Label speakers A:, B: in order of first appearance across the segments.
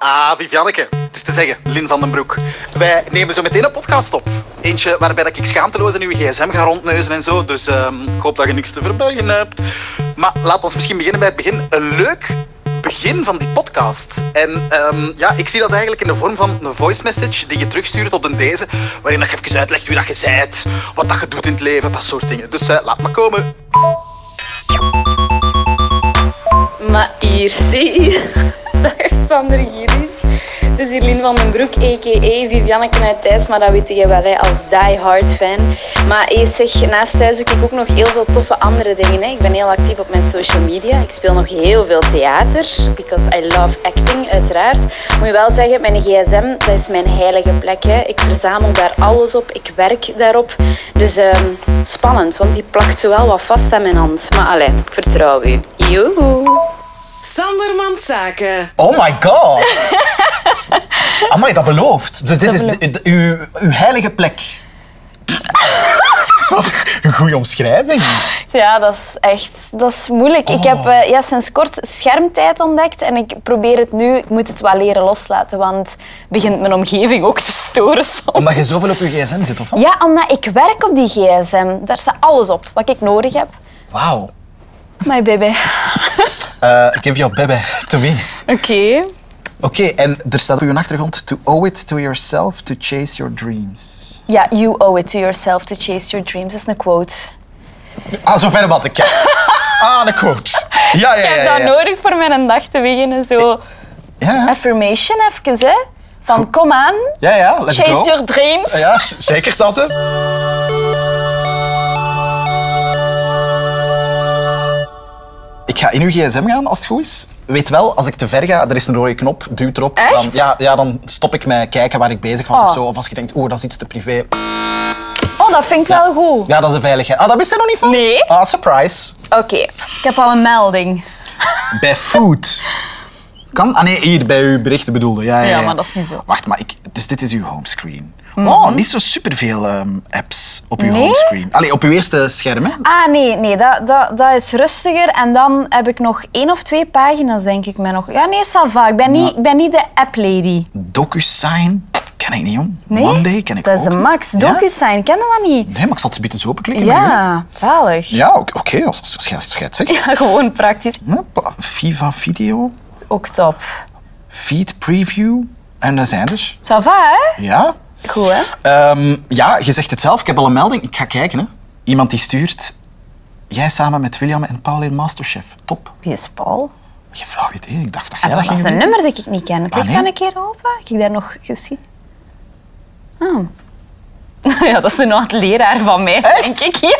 A: Ah, Vivianneke. Het is te zeggen, Lin van den Broek. Wij nemen zo meteen een podcast op. Eentje waarbij dat ik schaamteloos in uw gsm ga rondneuzen en zo. Dus ehm, ik hoop dat je niks te verbergen hebt. Maar laat ons misschien beginnen bij het begin. Een leuk begin van die podcast. En ehm, ja, ik zie dat eigenlijk in de vorm van een voice message die je terugstuurt op een deze. Waarin dat je even uitlegt wie dat je zijt, wat dat je doet in het leven, dat soort dingen. Dus eh, laat maar komen.
B: Maar hier, zie. Dag Sander Gielis. Het is hier Lien van den Broek, a.k.a. Vivianneke uit Thijs. Maar dat weet je wel, hè, als die hard fan. Maar hey, zeg, naast thuis doe ik ook nog heel veel toffe andere dingen. Hè. Ik ben heel actief op mijn social media. Ik speel nog heel veel theater. Because I love acting, uiteraard. Moet je wel zeggen, mijn gsm, dat is mijn heilige plek. Hè. Ik verzamel daar alles op. Ik werk daarop. Dus ehm, spannend, want die plakt zowel wat vast aan mijn hand. Maar allee, ik vertrouw u. Joehoe.
C: Sandermans Zaken.
A: Oh my god! Amai, dat belooft. Dus dit
B: Dat
A: is
B: belooft.
A: d- d- uw, uw heilige plek. Wat een goede omschrijving.
D: Ja, dat is echt dat is moeilijk. Ik heb eh, ja, sinds kort schermtijd ontdekt en ik probeer het nu. Ik moet het wel leren loslaten, want het begint mijn omgeving ook te storen soms.
A: Omdat je zoveel op je gsm zit, of wat?
D: Ja, omdat ik werk op die gsm. Daar staat alles op wat ik nodig heb.
A: Wauw.
D: My baby.
A: Eh, give your baby to me.
D: Oké.
A: Oké, en er staat op uw achtergrond... To owe it to yourself, to chase your dreams.
D: Ja, you owe it to yourself to chase your dreams. Dat is een quote.
A: Ah, zover was ik, ja. Ah, een quote. Ja, ja,
D: Ik
A: ja.
D: heb
A: ja,
D: dat
A: ja.
D: nodig voor mijn dag te beginnen. Zo,
A: Ja,
D: affirmation even, hè. Van, kom aan,
A: ja, ja, let's
D: chase
A: go.
D: your dreams.
A: Ja, z- zeker dat, hè. Ik ga in uw gsm gaan, als het goed is. Weet wel, als ik te ver ga, er is een rode knop, duw erop.
D: Echt?
A: Dan, ja, ja, dan stop ik met kijken waar ik bezig was
D: Oh.
A: of zo. Of als je denkt, oeh, dat is iets te privé.
D: Oh, dat vind ik wel goed.
A: Ja, dat is een veiligheid. Ah, dat wist je nog niet van?
D: Nee.
A: Ah, surprise.
D: Oké, ik heb al een melding.
A: Bij food. Kan? Ah nee, hier, bij uw berichten bedoelde. Ja, ja,
D: Ja, maar dat is niet zo. Mhm.
A: Wacht, maar ik, dus dit is uw homescreen. Oh, niet zo superveel ehm, apps op uw
D: Nee?
A: homescreen. Allee, op uw eerste scherm, hè?
D: Ah, nee, nee dat, dat, dat is rustiger. En dan heb ik nog één of twee pagina's, denk ik. Met nog. Ja, nee, ça va. Ik ben, niet, ik ben niet de app-lady.
A: DocuSign. Ken ik niet, jong.
D: Nee?
A: Monday ken ik
D: Dat is
A: ook
D: de
A: niet.
D: max.
A: Ja?
D: DocuSign, ken je dat niet?
A: Nee, maar ik zal het een beetje zo beklikken. met u.
D: Ja, zalig.
A: Ja, oké, oké, als als- als jij als jij het zegt.
D: Ja, gewoon praktisch.
A: Hoppa, Viva Video,
D: Ook top.
A: Feed Preview. En dat zijn er.
D: Ça va, hè?
A: Ja.
D: Goed, hè?
A: Ehm, ja, je zegt het zelf. Ik heb al een melding. Ik ga kijken, hè. Iemand die stuurt. Jij samen met William en Paul in Masterchef. Top.
D: Wie is Paul?
A: Je flauw idee. Ik dacht dat jij
D: Ah,
A: dat
D: dat
A: ging
D: is een
A: weten.
D: nummer dat ik niet ken. Klik
A: nee?
D: dan een keer open. Heb ik daar nog gezien? Ah. Ja, dat is een oud leraar van mij, denk ik. Ja.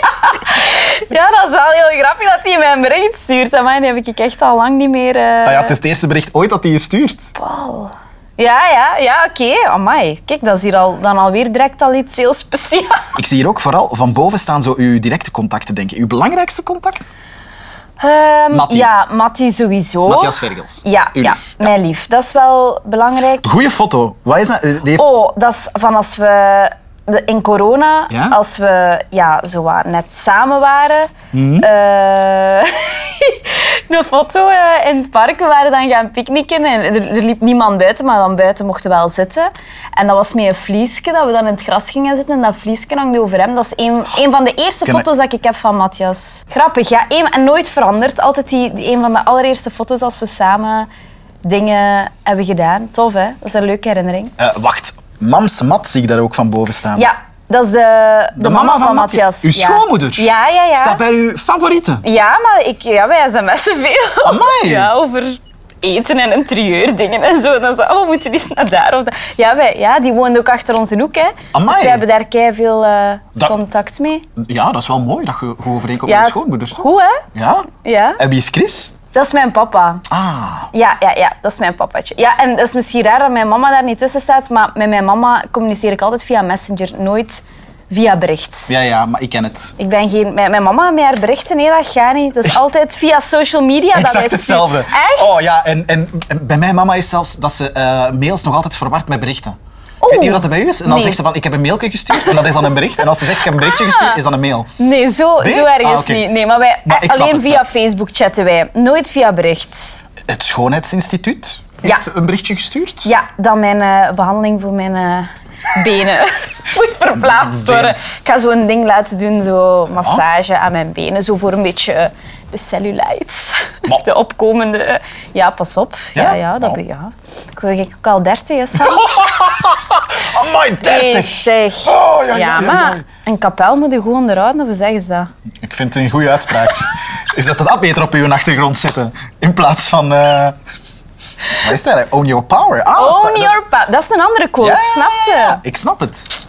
D: ja, dat is wel heel grappig dat hij mij een bericht stuurt. Amai, die heb ik echt al lang niet meer... eh,
A: Ah ja, het is het eerste bericht ooit dat hij je stuurt.
D: Paul. Ja, ja, ja, oké. Amai. Kijk, dat is hier al, dan alweer direct al iets heel speciaals.
A: Ik zie hier ook vooral van boven staan zo uw directe contacten, denk ik. Uw belangrijkste contact?
D: Ehm,
A: Mattie.
D: Ja, Mattie sowieso.
A: Matthias Vergels.
D: Ja,
A: Uw
D: ja,
A: lief.
D: mijn lief. Dat is wel belangrijk.
A: Goeie foto. Wat is dat? Eh, Die heeft...
D: Oh, dat is van als we de- in corona,
A: Ja?
D: als we ja, zo wa- net samen waren,
A: Mhm.
D: eh, een foto eh, in het park. We waren dan gaan picknicken en er, er liep niemand buiten, maar dan buiten mochten we wel zitten. En dat was met een vliesje dat we dan in het gras gingen zitten en dat vliesje hangde over hem. Dat is een, een van de eerste
A: Ken ik.
D: foto's dat ik heb van Matthias. Grappig, ja. Een, en nooit veranderd. Altijd die, die- een van de allereerste foto's als we samen dingen hebben gedaan. Tof, hè? Dat is een leuke herinnering.
A: Eh, wacht. Mams Mat zie ik daar ook van boven staan.
D: Ja, dat is de, de,
A: mama van Matthias. Uw
D: ja.
A: schoonmoeder?
D: Ja, ja, ja.
A: Staat bij uw favorieten.
D: Ja, maar ik, ja, wij sms'en veel.
A: Amai.
D: Ja, over eten en interieurdingen en zo. Dan zo, oh, we moeten eens naar daar of daar. Ja, wij, ja, die woont ook achter onze hoek, hè.
A: Amai.
D: Dus we hebben daar kei veel eh,
A: Dat-
D: contact mee.
A: Ja, dat is wel mooi dat je goed overeenkomt
D: Ja,
A: met je schoonmoeder. toch?
D: Goed, hè?
A: Ja?
D: Ja.
A: En wie is Chris?
D: Dat is mijn papa.
A: Ah.
D: Ja, ja, ja, dat is mijn papatje. Ja, en dat is misschien raar dat mijn mama daar niet tussen staat, maar met mijn mama communiceer ik altijd via Messenger, nooit via bericht.
A: Ja, ja, maar ik ken het.
D: Ik ben geen... Mijn, mijn mama met haar berichten, nee, dat gaat niet. Dat is altijd via social media dat
A: exact
D: wij sturen.
A: hetzelfde.
D: Echt?
A: Oh ja, en, en, en bij mijn mama is zelfs dat ze eh, mails nog altijd verward met berichten. Ik weet niet hoe dat er bij u is. En dan
D: Oh. Nee. Ah.
A: zegt ze van, ik heb een mailje gestuurd. En dat is dan een bericht. En als ze zegt, ik heb een berichtje gestuurd, is dat een mail.
D: Nee, zo,
A: Nee?
D: zo erg is
A: Ah,
D: het
A: oké.
D: niet. Nee, maar wij,
A: Maar ik snap
D: alleen
A: het,
D: via
A: ja.
D: Facebook chatten wij. Nooit via bericht.
A: Het Schoonheidsinstituut
E: heeft een berichtje gestuurd?
D: Ja, dat mijn eh, behandeling voor mijn eh, benen moet verplaatst worden. Ik ga zo'n ding laten doen, zo massage
A: Ah.
D: aan mijn benen. Zo voor een beetje eh, de cellulites.
E: Maar-
D: De opkomende... Ja, pas op. Ja,
E: Ja?
D: ja, dat
E: Oh.
D: ben ja. Ik word eigenlijk ook al dertig, hè, Sam?
E: Amai, 30!
D: Nee, zeg.
E: Oh, ja, ja, ja,
D: maar
E: ja.
D: een kapel moet je goed onderhouden, of zeggen ze dat?
E: Ik vind het een goede uitspraak. is dat dat beter op uw achtergrond zitten? In plaats van... eh, Wat is dat? hè? Own your power. Ah, is dat-
D: Own
E: dat-
D: your power. Dat is een andere quote,
E: Ja,
D: snap je?
E: Ik snap het.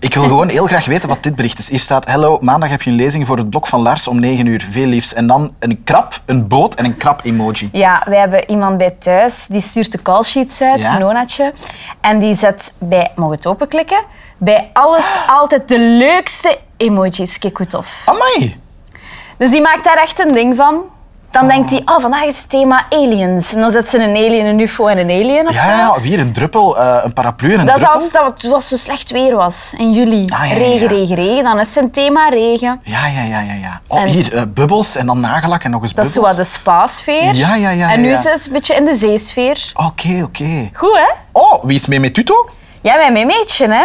E: Ik wil gewoon heel graag weten wat dit bericht is. Hier staat, hello, maandag heb je een lezing voor het blok van Lars om 9 uur. Veel liefs. En dan een krab, een boot en een krab-emoji.
D: Ja, wij hebben iemand bij thuis die stuurt de call sheets uit,
E: Ja.
D: een Nonatje. En die zet bij, mogen we het openklikken? Bij alles
E: Ah!
D: altijd de leukste emojis. Kijk hoe tof.
E: Amai!
D: Dus die maakt daar echt een ding van. Dan denkt hij, oh, vandaag is het thema aliens. En dan zet ze een alien, een ufo en een alien of
E: Ja,
D: zo.
E: ja, ja, of hier een druppel, eh, een paraplu en een
D: Dat is
E: druppel.
D: als dat het was zo slecht weer was, in juli.
E: Ah, ja, ja,
D: Regen,
E: ja.
D: regen, regen. Dan is zijn thema regen.
E: Ja, ja, ja, ja. ja. Oh,
D: En-
E: hier, eh, bubbels en dan nagelak en nog eens
D: Dat is zo
E: bubbels.
D: wat de spa-sfeer.
E: Ja, ja, ja,
D: En nu
E: ja, ja.
D: is het een beetje in de zeesfeer.
E: Oké, oké.
D: Goed, hè?
E: Oh, wie is mee met Tuto?
D: Ja, mijn meemeetje, hè.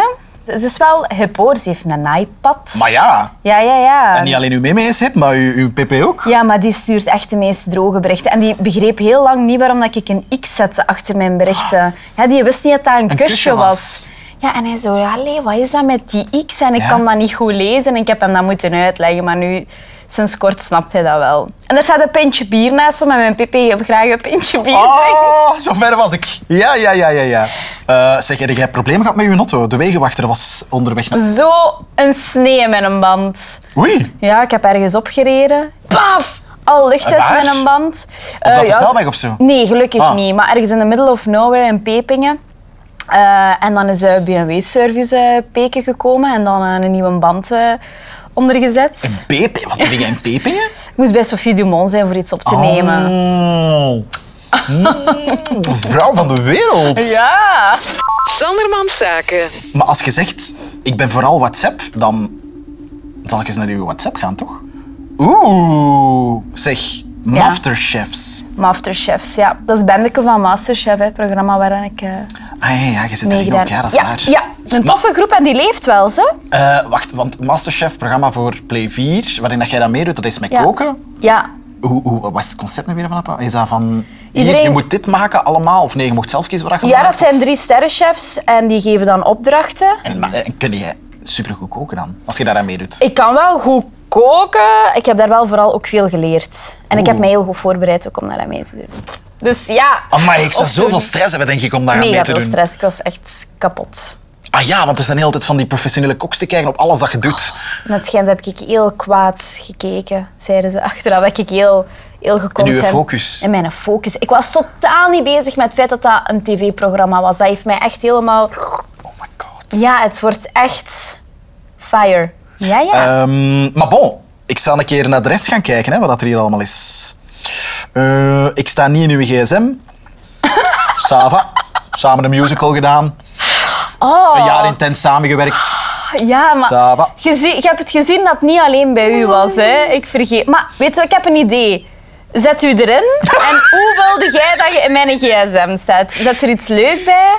D: Ze is wel hip hoor, ze heeft een iPad.
E: Maar Ah ja,
D: Ja, ja, ja.
E: en niet alleen uw meme is hip, maar uw, uw pp ook.
D: Ja, maar die stuurt echt de meest droge berichten. En die begreep heel lang niet waarom dat ik een X zette achter mijn berichten. Ja, die wist niet dat dat een, kusje,
E: kusje was.
D: was. Ja, en hij zo, allee, wat is dat met die X? En ik
E: Ja.
D: kan dat niet goed lezen. En ik heb hem dat moeten uitleggen, maar nu... Sinds kort snapt hij dat wel. En er staat een pintje bier naast hem en mijn pp heeft graag een pintje bier drinken.
E: Oh, zo ver was ik. Ja, ja, ja, ja. ja. Eh zeg, heb jij problemen gehad met uw auto? De wegenwachter was onderweg naar...
D: Zo een snee met een band.
E: Oei,
D: Ja, ik heb ergens opgereden. Paf! Al lucht uit
E: Waar?
D: met een band.
E: Op dat
D: Eh,
E: de snelweg of zo?
D: Nee, gelukkig
E: Ah.
D: niet. Maar ergens in the middle of nowhere in Pepingen. Eh, en dan is eh BMW-service eh, peken gekomen en dan eh, een nieuwe band eh, ondergezet.
E: PP. Wat doe jij in Pepingen?
D: Ik moest bij Sophie Dumont zijn voor iets op te nemen.
E: Oh. Mm, vrouw van de wereld.
D: Ja!
C: Sandermans Zaken.
E: Maar als je zegt, ik ben vooral WhatsApp, dan zal ik eens naar uw WhatsApp gaan, toch? Oeh, zeg, masterchefs.
D: Masterchefs, ja. Dat is Bendeke van Masterchef, hè, het programma waar ik eh
E: Ah ja, ja, je zit erin
D: meegedaan
E: ook. Ja, dat is
D: ja,
E: waar.
D: ja, een toffe groep en die leeft wel, ze.
E: Eh, wacht, want Masterchef, programma voor Play 4, waarin dat jij dat meedoet, dat is met
D: Ja.
E: koken.
D: Ja,
E: Hoe, hoe, wat was het concept nou weer van dat programma? Is dat van, hier,
D: Iedereen-
E: je moet dit maken allemaal, of nee, je mocht zelf kiezen wat je
D: ja dat
E: maakt?
D: zijn drie sterrenchefs en die geven dan opdrachten.
E: En, maar, eh, kun jij supergoed koken dan, als je daar aan meedoet?
D: Ik kan wel goed koken. Ik heb daar wel vooral ook veel geleerd. En ik heb
E: Oeh.
D: mij heel goed voorbereid ook om daar aan mee te doen. Dus ja.
E: Amai, ik zou
D: Of
E: zoveel
D: doen.
E: stress hebben, denk ik, om daar aan mee
D: Mega
E: te
D: veel
E: doen.
D: stress. Ik was echt kapot.
E: Ah ja, want er zijn de hele tijd van die professionele koks te kijken op alles dat je doet.
D: En het schijnt heb ik heel kwaad gekeken, zeiden ze achteraf. Dat ik heel, heel geconcentreerd...
E: uw focus.
D: In mijn focus. Ik was totaal niet bezig met het feit dat dat een tv-programma was. Dat heeft mij echt helemaal...
E: Oh my god.
D: Ja, het wordt echt... Fire. Ja, ja.
E: Ehm, maar bon, ik zal een keer naar de rest gaan kijken, hè, wat dat er hier allemaal is. Eh, ik sta niet in uw gsm. Sava. Samen een musical gedaan.
D: oh,
E: Een jaar intens samengewerkt.
D: ja, maar...
E: Sava.
D: Gezi- ik heb het gezien dat het niet alleen bij u was. Hè. Ik vergeet. Maar weet je, ik heb een idee. Zet u erin. En hoe wilde jij dat je in mijn gsm zet? Zet er iets leuk bij?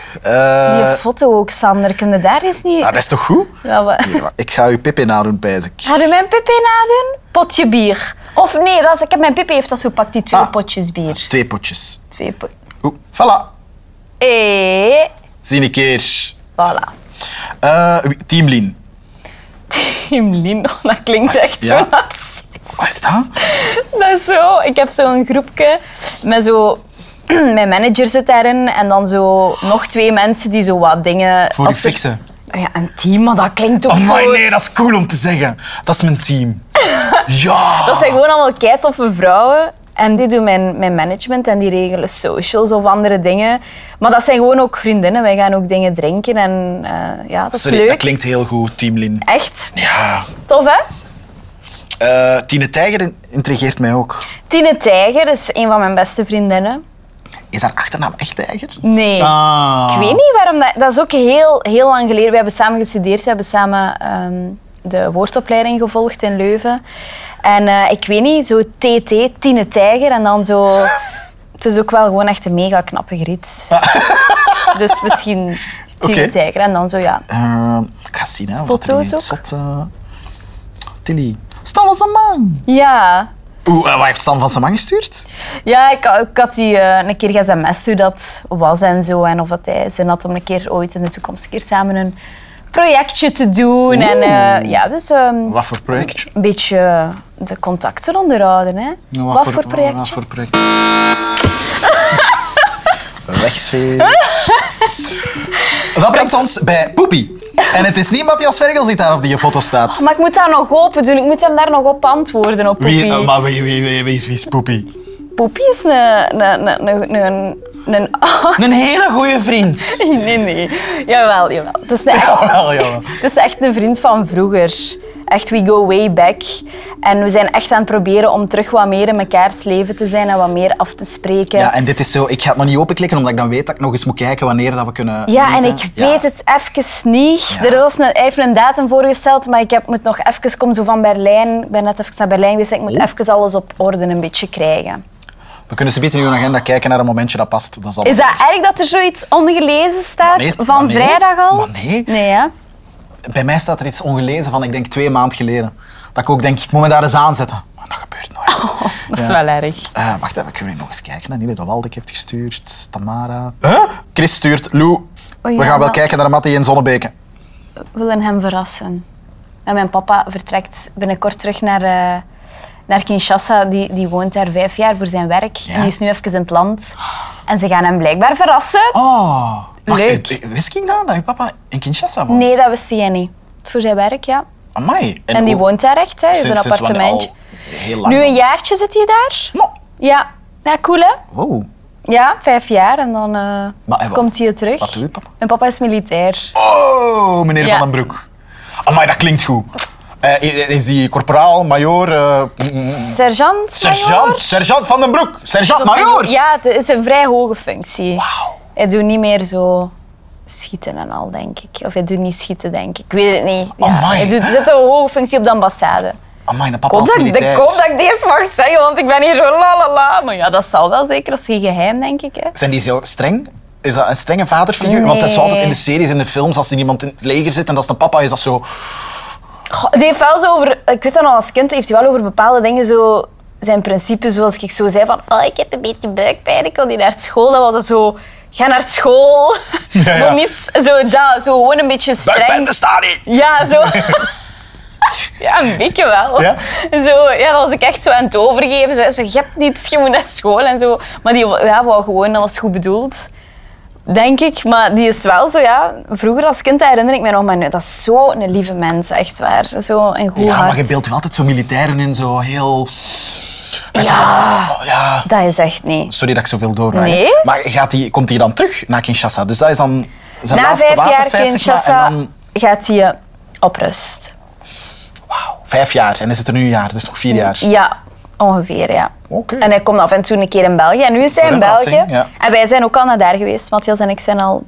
D: Die
E: Eh
D: foto ook, Sander. Kunnen daar eens niet...
E: ah, dat is toch goed?
D: Ja, we...
E: Hier, Ik ga uw pipi nadoen, pijs ik.
D: Ga je mijn pipi nadoen? Potje bier. Of nee, dat, ik heb mijn pipi heeft dat zo pakt die twee
E: Ah.
D: potjes bier.
E: Twee potjes.
D: Twee pot...
E: Oeh, voilà.
D: Eh,
E: Zie een keer.
D: voilà.
E: Eh, wie- Team Lean.
D: Tim Lino, dat klinkt echt
E: Ah, Ja.
D: zo hard.
E: Wat is dat?
D: Dat is zo. Ik heb zo'n groepje met zo. Mijn manager zit daarin en dan zo nog twee mensen die zo wat dingen.
E: Voor u
D: als er-
E: fixen.
D: Ja, een team, maar dat klinkt ook
E: Oh
D: zo.
E: nee, dat is cool om te zeggen. Dat is mijn team. Ja!
D: Dat zijn gewoon allemaal keitoffe vrouwen. En die doen mijn, mijn management en die regelen socials of andere dingen. Maar dat zijn gewoon ook vriendinnen. Wij gaan ook dingen drinken en eh, ja, dat is
E: Sorry,
D: leuk.
E: dat klinkt heel goed, Team Lin.
D: Echt
E: Ja.
D: tof, hè?
E: Eh, Tine Tijger in- intrigeert mij ook.
D: Tine Tijger is een van mijn beste vriendinnen.
E: Is haar achternaam echt Tijger?
D: Nee.
E: Ah.
D: Ik weet niet waarom dat... Dat is ook heel, heel lang geleden. We hebben samen gestudeerd. We hebben samen ehm, de woordopleiding gevolgd in Leuven. En eh, ik weet niet, zo TT, Tine Tijger en dan zo... Het is ook wel gewoon echt een mega knappe griet. dus misschien tien
E: Ah. Oké.
D: tijger en dan zo, ja.
E: Eh, ik ga zien, hè. Wat er
D: Foto's
E: hier
D: ook?
E: zot... eh, Tilly. Stan van Samang.
D: Ja,
E: Oeh, eh, wat heeft Stan van Samang gestuurd?
D: ja ik, ik had die eh, een keer sms hoe dat was en zo. En of dat hij zin had om een keer ooit in de toekomst een keer samen een projectje te doen. En eh,
E: Oeh.
D: ja, dus ehm,
E: Wat voor projectje?
D: een beetje de contacten onderhouden. Hè.
E: Ja,
D: wat, voor, projectje?
E: Wat voor project? Wegsfeer. Dat brengt ons bij Poepie. En het is niet Matthias Vergels die daar op die foto staat.
D: Oh, Maar ik moet daar nog open doen. Ik moet hem daar nog op antwoorden op
E: Wie,
D: Poepie.
E: eh, maar wie, wie, wie, wie is, wie is Poepie?
D: Poepie is een... een, een, een, een, een-
E: Een hele goede vriend.
D: Nee, nee, nee. Jawel, jawel. Het is, echt,
E: Jawel, jawel.
D: het is echt een vriend van vroeger. Echt, we go way back. En we zijn echt aan het proberen om terug wat meer in mekaars leven te zijn en wat meer af te spreken.
E: Ja, en dit is zo... Ik ga het nog niet openklikken, omdat ik dan weet dat ik nog eens moet kijken wanneer dat we kunnen
D: Ja, en
E: meten.
D: ik
E: Ja.
D: weet het even niet. Er was een, hij heeft een datum voorgesteld, maar ik heb, moet nog even komen zo van Berlijn. Ik ben net even naar Berlijn geweest. Ik
E: Oh.
D: moet even alles op orde een beetje krijgen.
E: We kunnen ze beter in uw agenda kijken naar een momentje dat past. Dat is allemaal-
D: Is dat erg dat er zoiets ongelezen staat
E: Oh. Maar nee,
D: van
E: maar nee,
D: vrijdag al?
E: maar nee.
D: Nee, hè?
E: Bij mij staat er iets ongelezen van, ik denk, twee maanden geleden. Dat ik ook denk, ik moet me daar eens aanzetten. Maar dat gebeurt nooit.
D: Dat
E: Ja.
D: is wel erg.
E: Eh, wacht even, kunnen we nog eens kijken? hè? Nille de Waldek heeft gestuurd, Tamara. Chris stuurt, Lou, we
D: Oh ja,
E: gaan wel
D: maar-
E: kijken naar Mattie in Zonnebeke.
D: We willen hem verrassen. En mijn papa vertrekt binnenkort terug naar, eh, naar Kinshasa. Die, die woont daar vijf jaar voor zijn werk. En die is nu even in het land. En ze gaan hem blijkbaar verrassen.
E: Oh, wacht,
D: Leuk.
E: eh, wist ik dan dat je papa in Kinshasa woont?
D: Nee, dat wist hij niet. Het is voor zijn werk, ja.
E: Amai.
D: En die
E: hoe-
D: woont daar echt, hè. Hij heeft
E: sinds-
D: een
E: sinds wanneer?
D: appartementje.
E: Al heel lang.
D: Nu een
E: al.
D: jaartje zit hij daar.
E: Nou,
D: Ja. Ja, cool, hè?
E: wow.
D: Ja, vijf jaar. En dan eh,
E: Maar hij wa-
D: komt hij terug.
E: wat doet je papa?
D: Mijn papa is militair.
E: Oh, meneer
D: Ja.
E: Van den Broek. Amai, dat klinkt goed. Eh, is die corporaal, major, eh, mm, mm,
D: Sergeant?
E: sergeant, sergeant Van den Broek, sergeant major. Ah,
D: major? Ja, het is een vrij hoge functie.
E: Wauw.
D: Hij doet niet meer zo schieten en al, denk ik. Of hij doet niet schieten, denk ik. Ik weet het niet. Ja,
E: Amai.
D: hij doet, zit een hoge functie op de ambassade.
E: Amai, de papa
D: Ik hoop,
E: als
D: dat ik, ik
E: militair.
D: hoop dat ik deze mag zeggen, want ik ben hier zo la la la. Maar ja, dat zal wel zeker. Dat is geen geheim, denk ik. Hè.
E: Zijn die zo streng? Is dat een strenge vaderfiguur? Want dat is zo altijd in de series, in de films, als er iemand in het leger zit en dat is een papa, is dat zo...
D: Goh, Die heeft wel zo over... Ik weet dat nog als kind, heeft hij wel over bepaalde dingen zo... Zijn principes, zoals ik zo zei van... Oh, ik heb een beetje buikpijn, ik wil niet naar school. Dan was het zo... Ga naar school.
E: Ja, ja.
D: Maar niet zo, dat, zo gewoon een beetje streng.
E: Buikpijn bestaat niet!
D: Ja, zo. Ja, een beetje wel.
E: Ja?
D: Zo, ja, dan was ik echt zo aan het overgeven. Zo, zo, je hebt niets, je moet naar school en zo. Maar die ja, wou gewoon, dat was goed bedoeld. Denk ik. Maar die is wel zo, ja. Vroeger als kind dat herinner ik me nog, maar nu, dat is zo'n lieve mens, echt waar. Zo een goed
E: Ja,
D: hart.
E: maar je beeldt wel altijd zo militairen in, zo heel... en zo-
D: Ja.
E: oh, ja.
D: Dat is echt niet.
E: Sorry dat ik zoveel doorwaai.
D: Nee.
E: Maar gaat die, komt hij dan terug naar Kinshasa? Dus dat is dan zijn
D: Na
E: laatste
D: vijf jaar
E: wapenfeit, zeg maar,
D: Kinshasa
E: En dan
D: gaat hij eh, op rust.
E: wauw, vijf jaar. En is het er nu een jaar, dus nog vier jaar.
D: Ja, ongeveer, ja.
E: Oké.
D: En hij komt af en toe een keer in België. En nu is hij
E: Voor
D: in
E: de verrassing,
D: België.
E: ja.
D: En wij zijn ook al naar daar geweest. Matthias en ik zijn al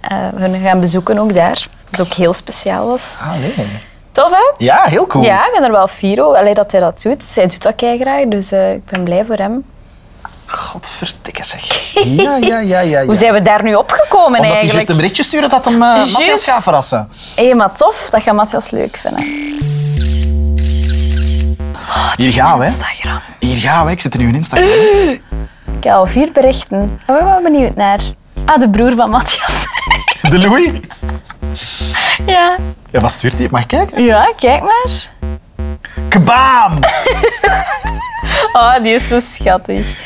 D: eh, hun gaan bezoeken ook daar. Dat ook heel speciaal was.
E: Ah, nee.
D: Tof, hè?
E: Ja, heel cool.
D: Ja, ik ben er wel fier op Allee, dat hij dat doet. Hij doet dat graag, dus eh, ik ben blij voor hem.
E: Godverdikke zeg. Ja, ja, ja, ja. ja.
D: Hoe zijn we daar nu opgekomen
E: Omdat die
D: eigenlijk?
E: juist een berichtje sturen dat hem eh, Matthias
D: Juist.
E: gaat verrassen.
D: Hé, maar tof. Dat gaat Matthias leuk vinden.
E: Hier gaan we. hè.
D: Instagram.
E: Hier gaan we. Ik zit er nu in Instagram.
D: Ik heb al vier berichten. Daar ben ik wel benieuwd naar. Ah, de broer van Matthias.
E: De Louis.
D: ja.
E: Ja, wat stuurt hij? Mag ik kijken?
D: Ja, kijk maar.
E: Kabaam!
D: Oh, die is zo schattig.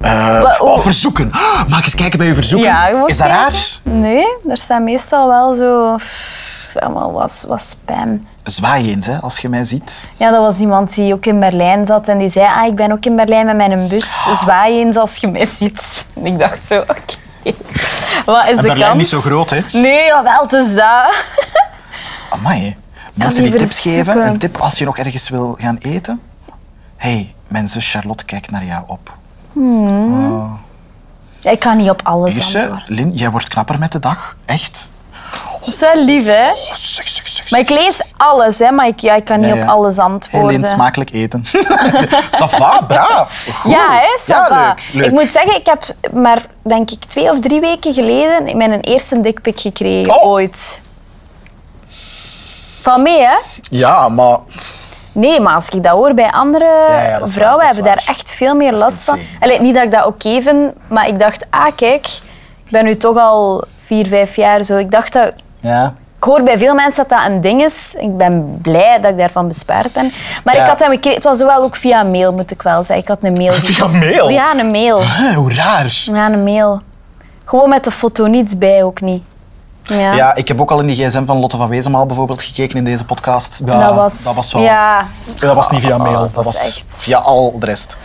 E: Eh,
D: Wa-
E: oh,
D: oh.
E: verzoeken. Oh, Mag ik eens kijken bij uw verzoeken?
D: Ja, gewoon
E: is dat
D: kijken.
E: raar?
D: Nee, er staat meestal wel zo. pff, is allemaal wat, wat spam.
E: Zwaai eens, hè, als je mij ziet.
D: Ja, dat was iemand die ook in Berlijn zat en die zei: Ah, ik ben ook in Berlijn met mijn bus. Zwaai eens als je mij ziet. En ik dacht zo: Oké. Wat is
E: En
D: de
E: Berlijn
D: kans?
E: niet zo groot, hè?
D: Nee, jawel, het is dat.
E: Amai. hè. Mensen die
D: die
E: tips
D: verzoeken.
E: geven, een tip als je nog ergens wil gaan eten. Hé, hey, mijn zus Charlotte kijkt naar jou op.
D: Ja, Ik kan niet op alles
E: Eerste,
D: antwoorden.
E: Lin, jij wordt knapper met de dag. Echt. Oh,
D: Dat is wel lief, hè?
E: Zeg, zeg, zeg,
D: Maar ik lees alles, hè? Maar ik, ja, ik kan niet
E: Ja, ja.
D: op alles
E: Heel
D: antwoorden.
E: in smakelijk eten. Sava, braaf. Goed.
D: Ja, hè, ça
E: Ja,
D: va.
E: leuk, leuk.
D: Ik moet zeggen, ik heb maar denk ik twee of drie weken geleden mijn eerste dikpik gekregen
E: Oh.
D: ooit. Van mee, hè?
E: Ja, maar
D: Nee, maar als ik dat hoor bij andere
E: Ja, ja, dat is
D: vrouwen,
E: waar,
D: hebben
E: dat is waar.
D: daar echt veel meer last van.
E: insane.
D: Allee, niet dat ik dat oké vind, maar ik dacht, ah kijk, ik ben nu toch al vier, vijf jaar zo. Ik dacht dat
E: ja.
D: ik hoor bij veel mensen dat dat een ding is. Ik ben blij dat ik daarvan bespaard ben. Maar
E: Ja.
D: ik had hem gekregen. Het was wel ook via mail, moet ik wel zeggen. Ik had een mail.
E: via
D: gekregen.
E: mail.
D: Ja, een mail.
E: Hè, hoe raar.
D: Ja, een mail. Gewoon met de foto niets bij, ook niet. Ja.
E: Ja, ik heb ook al in die gsm van Lotte van Wezenmaal bijvoorbeeld gekeken in deze podcast. Ja,
D: dat was...
E: dat was wel...
D: Ja.
E: Dat was niet via mail,
D: Oh,
E: dat,
D: dat
E: was
D: is echt-
E: via al de rest.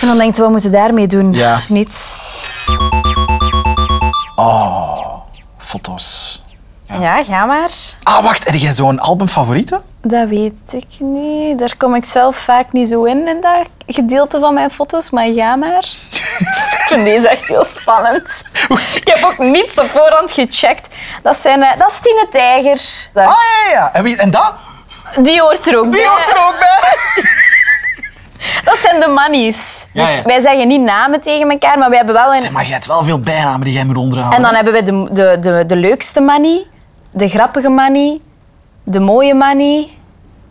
D: En dan denk je, wat moeten we daarmee doen?
E: Ja.
D: Niets.
E: Foto's.
D: Ja. ga maar.
E: Ah, wacht, heb jij zo'n album favorieten?
D: Dat weet ik niet. Daar kom ik zelf vaak niet zo in, in dat gedeelte van mijn foto's. Maar ga maar. ik vind deze echt heel spannend. Ik heb ook niets op voorhand gecheckt. Dat, zijn, eh, dat is Tine Tijger.
E: Ah, ja, ja, ja. En, wie, en dat?
D: Die hoort er ook
E: Die
D: bij.
E: hoort er ook bij.
D: Dat zijn de mannies.
E: Ja,
D: Dus
E: ja.
D: wij zeggen niet namen tegen elkaar, maar we hebben wel een
E: Zeg, maar jij hebt wel veel bijnamen die jij moet onderhouden.
D: En dan hebben we de, de, de, de leukste manie, de grappige manie, de mooie manie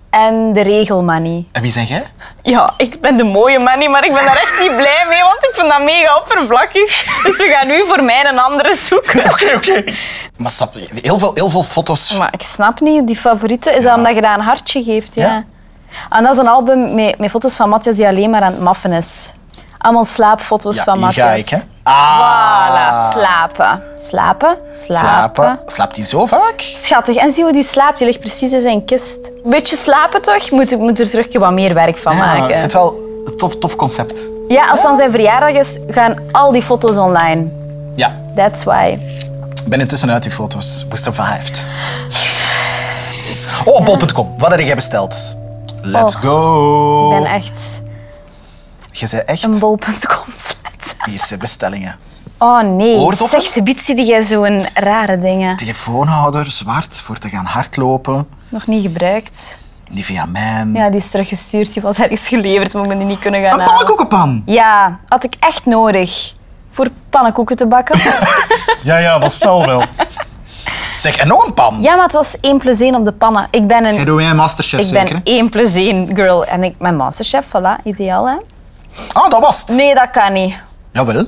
D: en de regelmanie.
E: En wie zijn jij?
D: Ja, ik ben de mooie manie, maar ik ben daar echt niet blij mee, want ik vind dat mega oppervlakkig. Dus we gaan nu voor mij een andere zoeken.
E: Oké, oké. Maar sap, heel veel, heel veel foto's.
D: Maar ik snap niet, die favoriete is dat omdat je daar een hartje geeft. Ja.
E: Ja.
D: En dat is een album met, met foto's van Matthias die alleen maar aan het maffen is. Allemaal slaapfoto's
E: ja,
D: van
E: hier
D: Matthias.
E: ga ik, hè. Ah.
D: Voilà, slapen. Slapen, slapen.
E: Slapen. Slaapt hij zo vaak?
D: Schattig, en zie hoe die slaapt. Die ligt precies in zijn kist. Beetje slapen toch? Moet, moet er terug wat meer werk van
E: Ja, ik vind
D: maken.
E: het wel een tof, tof concept.
D: Ja, als dan zijn verjaardag is, gaan al die foto's online.
E: Ja,
D: That's why.
E: Ik ben intussen uit die foto's. We survived. Oh, bol.com. Wat heb jij besteld? Let's
D: Och,
E: go.
D: Ik ben echt
E: Je zei echt
D: een bol.com slet.
E: hier zijn bestellingen.
D: Oh nee,
E: Oordoppen?
D: zeg, ze biedt zie jij zo'n rare dingen.
E: Telefoonhouder, zwart, voor te gaan hardlopen.
D: Nog niet gebruikt.
E: Nivea Man.
D: Ja, die is teruggestuurd. Die was ergens geleverd, maar ik ben die niet kunnen gaan
E: Een
D: halen.
E: pannenkoekenpan.
D: Ja, had ik echt nodig. Voor pannenkoeken te bakken.
E: Ja, ja, dat zal wel. Zeg, en nog een pan.
D: ja, maar het was 1 plus 1 op de pannen. Ik ben een
E: Jij doet mij een masterchef
D: Ik
E: zeker?
D: ben 1 plus 1 girl en ik ben masterchef, voilà, ideaal hè.
E: Ah, dat was het.
D: Nee, dat kan niet.
E: Jawel.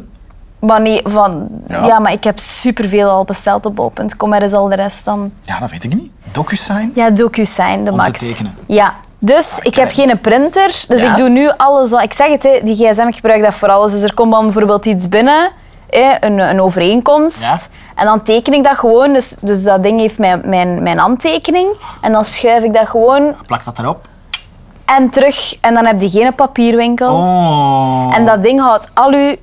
D: Maar nee, van...
E: Ja.
D: Ja, maar ik heb superveel al besteld op bol.com, er is al de rest dan.
E: Ja, dat weet ik niet. DocuSign.
D: Ja, DocuSign, de
E: te
D: max.
E: tekenen. Ah,
D: Ja. Dus ik heb geen printer, dus
E: Ja?
D: ik doe nu alles... wat- Ik zeg het, hè, die gsm, ik gebruik dat voor alles. Dus er komt dan bijvoorbeeld iets binnen, hè, een, een overeenkomst.
E: Ja.
D: En dan teken ik dat gewoon, dus, dus dat ding heeft mijn, mijn, mijn handtekening. En dan schuif ik dat gewoon
E: Plak dat erop.
D: en terug. En dan heb je geen papierwinkel.
E: Oh.
D: En dat ding houdt al uw...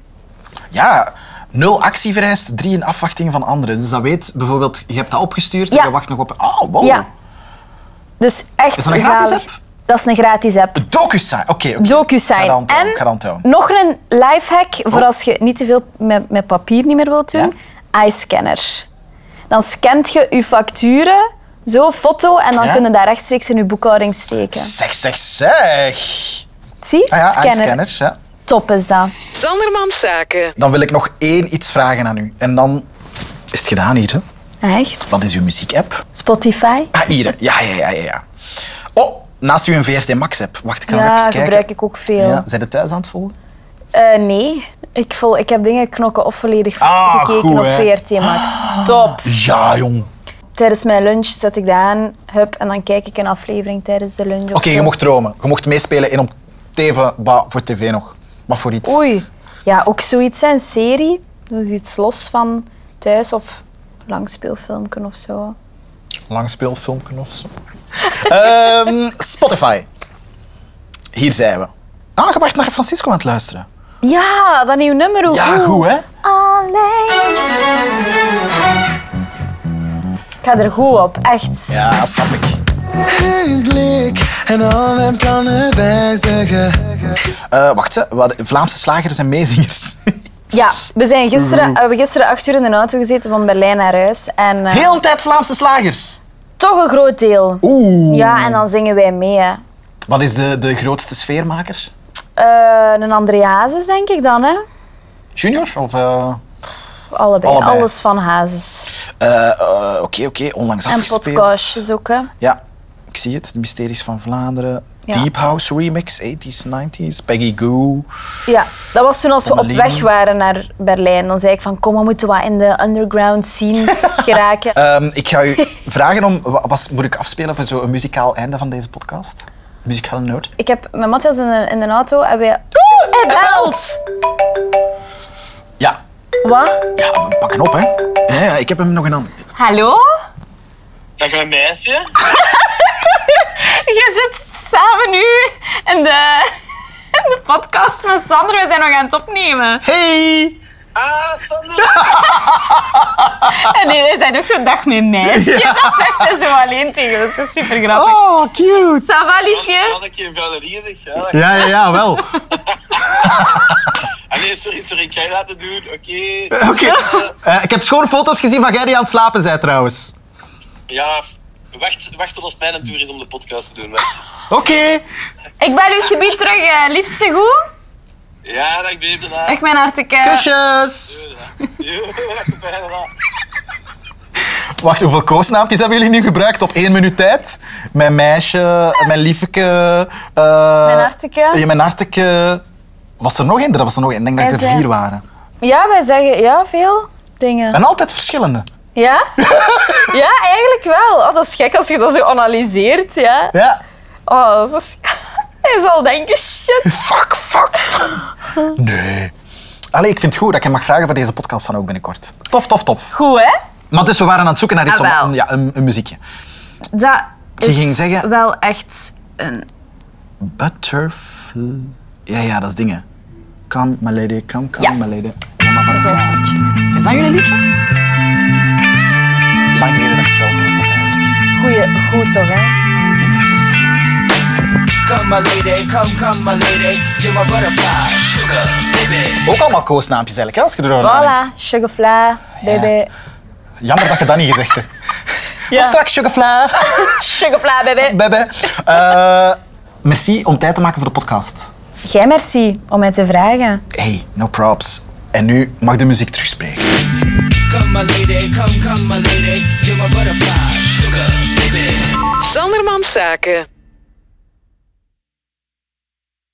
E: Ja, nul actie vereist, drie in afwachting van anderen. Dus dat weet bijvoorbeeld, je hebt dat opgestuurd en
D: Ja.
E: je wacht nog op. Oh, wow.
D: Ja. Dus echt
E: Is dat een gratis
D: zalig.
E: app?
D: Dat is een gratis app.
E: DocuSign. Oké, oké. Ik ga
D: DocuSign.
E: dat onthouden, ik ga Oh. dat
D: en
E: onthouden.
D: nog een lifehack voor als je niet te veel met, met papier niet meer wilt doen. iScanner. Dan scant je je facturen, zo foto, en dan
E: Ja.
D: kunnen daar rechtstreeks in je boekhouding steken.
E: Zeg, zeg, zeg.
D: Zie?
E: Ah ja,
D: Scanner.
E: scanners. Ja.
D: Top is dat.
C: Zandermans Zaken.
E: Dan wil ik nog één iets vragen aan u. En dan is het gedaan hier. Hè?
D: Echt?
E: Dat is uw muziekapp.
D: Spotify?
E: Ah, hier. hè. Ja, ja, ja, ja, ja. Oh, naast u een VRT Max app. Wacht, ik ga nog
D: Ja,
E: even kijken.
D: gebruik ik ook veel.
E: Ja, zijn de thuis aan het volgen?
D: Eh, nee. Ik, vol, ik heb dingen knokken of volledig
E: Ah,
D: gekeken
E: goed,
D: op
E: hè. Ah.
D: VRT Max. Top.
E: Ja, jong.
D: Tijdens mijn lunch zet ik dat aan, hup, en dan kijk ik een aflevering tijdens de lunch. of
E: Oké, je
D: zo.
E: mocht dromen. Je mocht meespelen in op TV, bah, voor tv nog. Maar voor iets.
D: Oei. Ja, ook zoiets, hè, een serie. Nog iets los van thuis of langspeelfilmken of zo.
E: langspeelfilmpje of zo. Ehm, Spotify. Hier zijn we. Ah, je wacht naar Francisco aan het luisteren.
D: Ja, dat nieuw nummer. hoe
E: Ja, goed hè?
D: Alleen. Ik ga er goed op, echt.
E: Ja, snap ik.
F: Een blik en al mijn plannen wijzigen.
E: Eh, wacht, hè. Wat, Vlaamse slagers en meezingers.
D: Ja, we zijn gisteren,
E: Mm-hmm.
D: we hebben gisteren acht uur in de auto gezeten van Berlijn naar huis. En eh,
E: Heel de tijd Vlaamse slagers.
D: toch een groot deel.
E: Oeh.
D: Ja, en dan zingen wij mee. Hè.
E: Wat is de, de grootste sfeermaker?
D: Eh, een André Hazes, denk ik dan, hè?
E: Junior? Of, eh,
D: Allebei.
E: Allebei.
D: Alles van Hazes.
E: eh, eh, Oké, oké. Onlangs
D: En
E: afgespeeld.
D: podcastjes ook, hè?
E: Ja, ik zie het. De Mysteries van Vlaanderen.
D: Ja.
E: Deep House remix, 80s, 90s. Peggy Goo.
D: Ja, dat was toen als we op
E: Annelien.
D: weg waren naar Berlijn. Dan zei ik van, kom, we moeten wat in de underground scene geraken.
E: Ehm, ik ga u vragen om... wa- Wat moet ik afspelen voor zo'n muzikaal einde van deze podcast? Muzikale noot?
D: Ik heb met Matthias in de, in de auto en wij... Oeh, het belt!
E: Ja.
D: Wat?
E: Ja, we pakken op, hè. Ja, ja, ik heb hem nog een ander.
D: Hallo?
G: Dag mijn meisje.
D: Je zit samen nu in de, in de podcast met Sander. We zijn nog aan het opnemen.
E: Hey!
G: Ah, Sander.
D: En nee, hij zei ook zo'n dag met meisje. Dat zegt hij zo alleen tegen ons. Dat is super grappig.
E: Oh, cute!
D: Ça va, liefje?
G: Als ik je Valerie zeg. Ja, dat-
E: Ja, ja, ja, wel.
G: Ah, nee, sorry, sorry. Ik ga je laten doen. Oké.
E: Oké. Eh, ik heb schone foto's gezien van jij die aan het slapen bent, trouwens.
G: Ja, wacht, wacht tot als het mijn tour is om de podcast te doen. Wacht.
E: Oké.
D: Ik bel u subiet terug. eh, liefste goed.
G: Ja, dag baby. Daarna.
D: Echt mijn hartelijke...
E: Kusjes!
G: Jo, fijne dag.
E: Wacht, hoeveel koosnaampjes hebben jullie nu gebruikt op één minuut tijd? Mijn meisje, mijn liefeke... eh,
D: Mijn hartelijke.
E: Ja, mijn hartelijke. Was er nog één? Er was er nog één. Ik denk dat
D: Wij
E: het er
D: zijn-
E: vier waren.
D: Ja, wij zeggen ja, veel dingen.
E: En altijd verschillende.
D: Ja? ja, eigenlijk wel. Oh, dat is gek als je dat zo analyseert. Ja.
E: Ja.
D: Oh, dat is... Hij zal denken, shit.
E: Fuck, fuck, fuck. Nee. Allee, ik vind het goed dat je mag vragen voor deze podcast dan ook binnenkort. Tof, tof, tof.
D: Goed, hè?
E: Maar dus we waren aan het zoeken naar iets om,
D: Ah, wel.
E: om- ja, een, een muziekje.
D: Dat
E: Je ging zeggen-
D: wel echt een...
E: Butterfly. Ja, ja, dat is dingen. Come, my lady, come, come,
D: Ja.
E: my lady. Ja, maar
D: Zo'n
E: butterfly.
D: liedje.
E: Is dat jullie liedje? Lang geleden dat ik het wel gehoord heb eigenlijk.
D: Goeie, goed toch, hè?
H: Come, my lady, come, come, my lady. You're my butterfly, sugar, baby.
E: Ook allemaal koosnaampjes eigenlijk, hè, als je erover
D: Voilà,
E: nadenkt.
D: sugarfly, baby.
E: Jammer dat je dat niet gezegd hebt.
D: Ja.
E: Tot straks, sugarfly.
D: Sugarfly, baby.
E: Bebe. Eh, merci om tijd te maken voor de podcast.
D: Jij merci om mij te vragen.
E: Hey, no props. En nu mag de muziek terugspreken.
H: Come, my lady, come, come, my lady. You're my butterfly, sugar, baby.
C: Sandermans Zaken.